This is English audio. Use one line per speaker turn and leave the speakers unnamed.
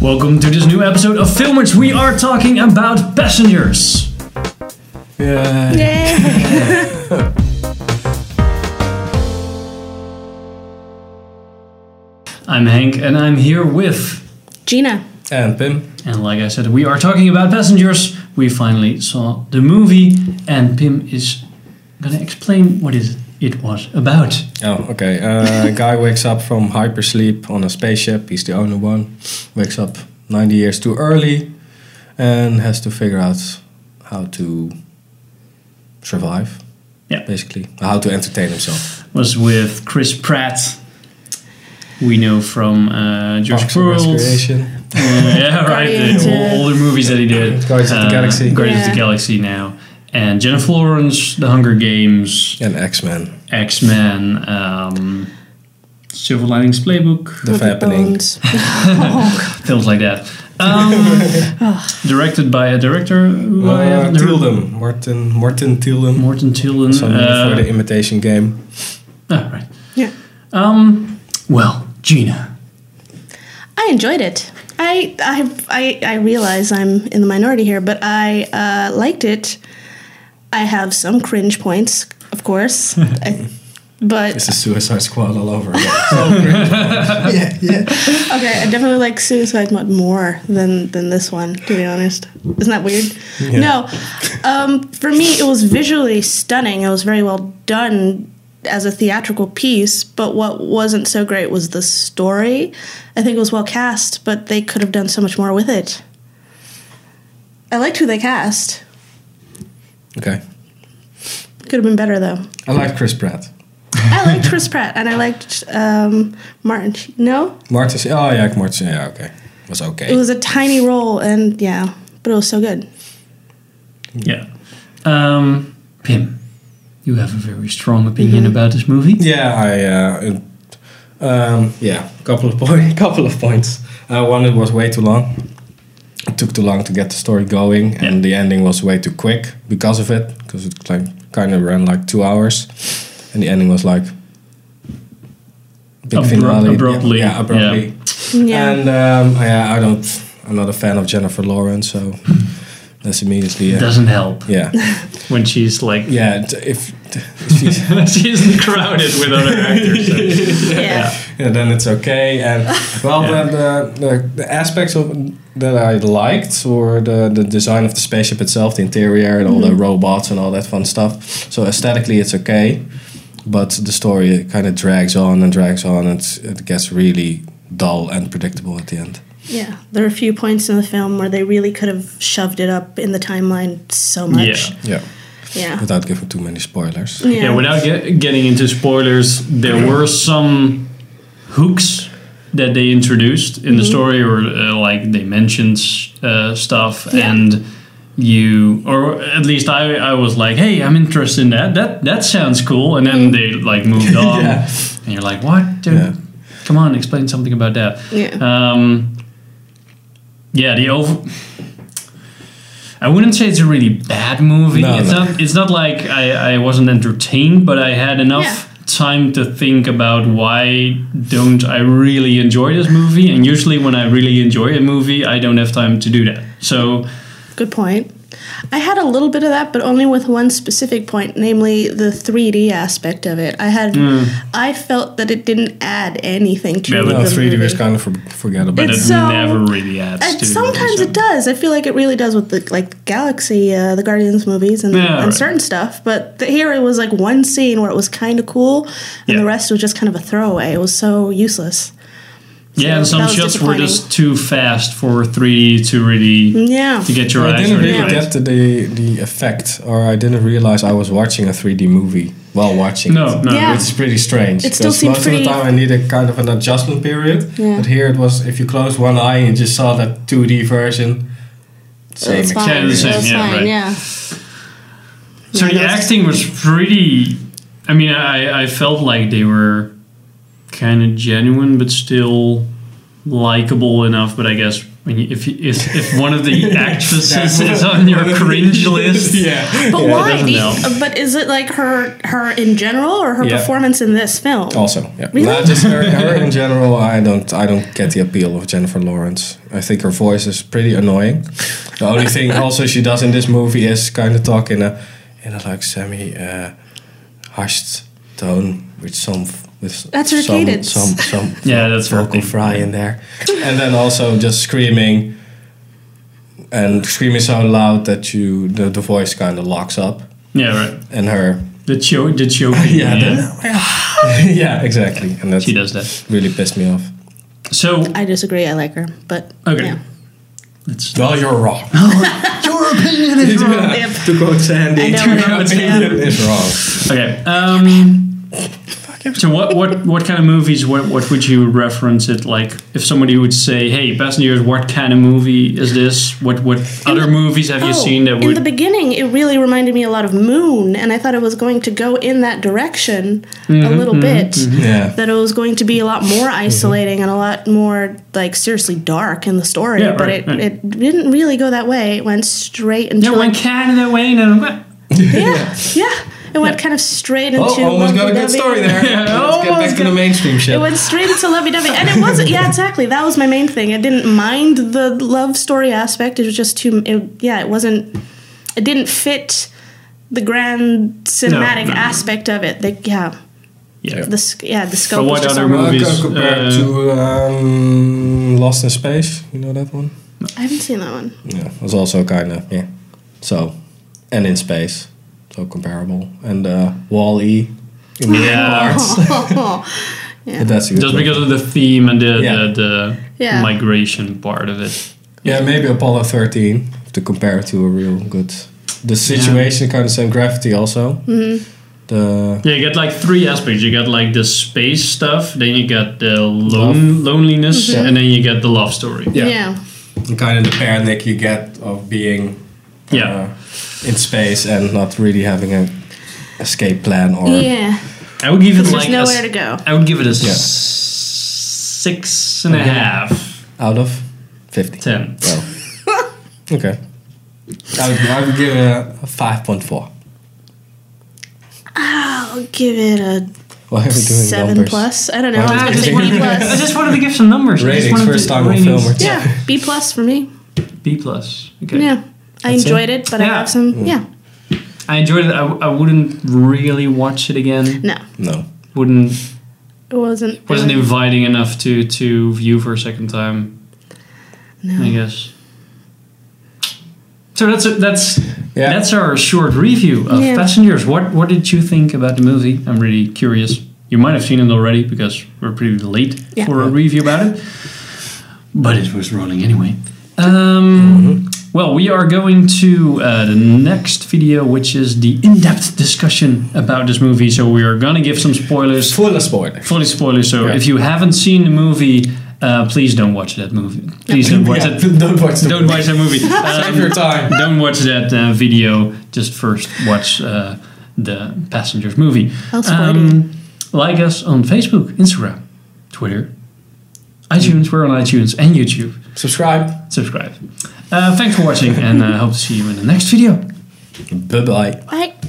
Welcome to this new episode of Filmers. We are talking about passengers.
Yeah.
I'm Hank and I'm here with.
Gina.
And Pim.
And like I said, we are talking about passengers. We finally saw the movie and Pim is gonna explain what is it was about.
Oh, okay. Uh, a guy wakes up from hypersleep on a spaceship. He's the only one. Wakes up 90 years too early and has to figure out how to survive.
Yeah.
Basically, how to entertain himself.
was with Chris Pratt. We know from uh, Jurassic
Parks and
World.
Recreation.
Uh, yeah, right.
Guardians,
the- all, all the movies that he did. Uh,
Guardians of the Galaxy.
Guardians of
Yeah.
the Galaxy now. And Jennifer Lawrence, The Hunger Games,
And X Men.
X Men, um, Silver Linings Playbook,
The Fappening.
films like that. Um, directed by a director who I
Uh,
haven't heard-
Tilden. Morten, Morten Tilden.
Morten Tilden.
Something
uh,
for the imitation game.
ah, right.
Yeah.
Um, well, Gina.
I enjoyed it. I, I, I, I realize I'm in the minority here, but I uh, liked it. I have some cringe points, of course. I, but
It's a Suicide Squad all over again.
Oh,
yeah, yeah.
okay, I definitely like Suicide Mode more than than this one. To be honest, isn't that weird? No, um, for me it was visually stunning. It was very well done as a theatrical piece. But what wasn't so great was the story. I think it was well cast, but they could have done so much more with it. I liked who they cast.
Okay.
Could have been better though.
I like Chris Pratt.
I liked Chris Pratt and I liked um, Martin. Sh- No,
Martin. Oh yeah, Martin. Yeah, okay. Was okay.
it was a tiny role, and yeah, but it was so good.
Yeah. Um, Pim, you have a very strong opinion about this movie.
yeah, I. Uh, it- um, yeah, couple of point, couple of points. Uh, one, it was way too long. It took too long to get the story going, and
Yeah.
the ending was way too quick because of it. Because it like, kind of ran like two hours, and the ending was like big
Abrupt-
finale.
abruptly,
Yeah,
yeah.
abruptly.
Yeah.
And um, yeah, I don't. I'm not a fan of Jennifer Lawrence, so that's immediately. Uh,
Doesn't help
yeah,
when she's like
yeah. t- If t- if she's
she's crowded with other actors. so-
yeah.
yeah, then it's okay. And well,
Yeah.
the, the, the the aspects of that I liked were the the design of the spaceship itself, the interior, and all the robots and all that fun stuff. So aesthetically, it's okay, but the story kind of drags on and drags on, and it's- it gets really dull and predictable at the end.
Yeah, there are a few points in the film where they really could have shoved it up in the timeline so much.
Yeah,
Yeah.
without giving too many spoilers.
Yeah.
Yeah, without get, getting into spoilers, there were some hooks that they introduced in
Mm-hmm.
the story, or uh, like they mentioned uh, stuff,
Yeah.
and you, or at least I, I was like, hey, I'm interested in that. That that sounds cool, and then they like moved on,
Mm-hmm. Yeah.
and you're like, what? Dude,
Yeah.
Come on, explain something about that.
Yeah.
Um, yeah, the over. I wouldn't say it's a really bad movie.
No,
it's
no.
not. It's not like I, I wasn't entertained, but I had enough
Yeah.
time to think about why don't I really enjoy this movie? And usually, when I really enjoy a movie, I don't have time to do that. So
Good point. I had a little bit of that, but only with one specific point, namely the 3D aspect of it. I had, I felt that it didn't add anything to
Yeah,
it.
but
No,
the
3D was
movie.
kind of for- forgettable.
that
It's so-
never really adds.
And
to the movie,
sometimes
so-
it does. I feel like it really does with the like Galaxy, uh, the Guardians movies, and,
Yeah,
and
right.
certain stuff. But the, here it was like one scene where it was kind of cool, and
Yeah.
the rest was just kind of a throwaway. It was so useless.
Yeah, and
So that
some
was
shots were
disappointing.
just too fast for 3D to really
Yeah,
to get your
I
eyes.
didn't
really
really
right.
get the, the the effect, or I didn't realize I was watching a 3D movie while watching.
No,
it.
no,
Yeah.
which is pretty strange.
It still
because
seemed
most of
pretty-
the time I needed kind of an adjustment period,
Yeah.
but here it was if you closed one eye and you just saw that 2D version. Same
That's
experience.
Yeah, the same, yeah, right.
yeah.
So
Yeah,
the
that's-
acting was pretty. I mean, I, I felt like they were kind of genuine, but still likable enough, but I guess when you, if, you, if if one of the actresses is on your cringe list,
yeah.
But
Yeah.
why?
doesn't
Do you-
know.
but is it like her her in general or her
Yeah.
performance in this film?
Oh.
Also, yeah.
Really?
Not just her, her in general. I don't. I don't get the appeal of Jennifer Lawrence. I think her voice is pretty annoying. The only thing also she does in this movie is kind of talk in a in a like semi uh, hushed tone with some with
That's her
some,
cadence.
some some
Yeah, that's her
vocal
thing.
fry in there, and then also just screaming and screaming so loud that you the, the voice kind of locks up
yeah, right.
and her
The choke, the choking, yeah,
yeah the- yeah exactly and that's
she does that.
really pissed me off.
So
I disagree. I like her, but
Okay.
yeah.
it's
Well, Oh, you're wrong.
your opinion is
Yep.
To quote Sandy,
I know, I know, yeah.
is wrong.
Okay. Um, so what, what what kind of movies? What what would you reference it like? If somebody would say, "Hey, passengers, what kind of movie is this? What what other movies have you
Oh,
seen that
in
would?"
the beginning it really reminded me a lot of Moon, and I thought it was going to go in that direction
Mm-hmm,
a little bit.
Yeah.
That it was going to be a lot more isolating and a lot more like seriously dark in the story,
Yeah,
but
right,
it,
right.
it didn't really go that way. It went straight into
yeah, one
like,
Canada Wayne and
yeah, yeah. It went kind of straight into
Oh, almost got a good
lovey-dovey.
story there. Let's get back to the mainstream shit.
It went straight into lovey dovey. And it wasn't, yeah, exactly. That was my main thing. I didn't mind the love story aspect. It was just too, it, yeah, it wasn't, it didn't fit the grand cinematic
no, no.
aspect of it. The, yeah.
yeah.
The, sc- yeah, the scope
what
was just
other
all wrong.
movie? movies,
compared
uh,
to um, Lost in Space, you know that one?
I haven't seen that one.
Yeah, it was also kind of, yeah. So, and in space, so comparable. And uh, Wall-E. in the
Yeah.
Oh.
arts. But that's a good
Just
one.
because of the theme and the
Yeah.
the, the
Yeah.
migration part of it.
Yeah, maybe Apollo 13 to compare it to a real good. The situation kind of same gravity also. The
Yeah, you get like three aspects. You got like the space stuff, then you got the lone, loneliness,
Mm-hmm.
Mhm.
and then you get the love story.
Yeah.
Yeah.
the kind of the panic you get of being uh,
Yeah.
in space and not really having a escape plan or
Yeah.
I would give it
Because
like
there's
a
nowhere
s-
to go.
I would give it a
Yeah.
s- six and a
Okay.
half,
out of 50.
ten.
Well, okay. I would, I would give it a 5.4.
I'll give it a
Why are we doing
seven
numbers?
plus. I don't know.
Why
I
Oh, I
would
was
just,
you
going to
wanted
say B
to, I
plus.
just wanted to give some numbers. I just
Ratings,
wanted
first
to-
time on
ratings.
film.
Yeah. B plus for me.
B plus. Okay.
Yeah. I
That's it?
enjoyed it, but I
Yeah.
have some. Yeah.
I enjoyed it. I, I wouldn't really watch it again.
No.
No.
Wouldn't
It wasn't.
wasn't inviting enough to to view for a second time.
No.
I guess. So that's that's
Yeah.
that's our short review of
Yeah.
Passengers. What what did you think about the movie? I'm really curious. You might have seen it already because we're pretty late
Yeah.
for a review about it. But it was rolling anyway. Um,
Mm-hmm.
Well, we are going to uh, the next video, which is the in-depth discussion about this movie. So we are gonna give some spoilers
Full of spoiler.
fully spoiler. So
Yeah.
if you haven't seen the movie, uh, please don't watch that movie. Please don't watch
Yeah,
that.
don't watch the
Don't watch that movie.
Save
Um,
your time.
don't watch that uh, video. Just first watch uh, the Passengers movie.
I'll spoil
Um, like us on Facebook, Instagram, Twitter, iTunes. We're on iTunes and YouTube.
Subscribe.
Subscribe. Uh, thanks for watching, and uh, hope to see you in the next video.
Bye bye.
I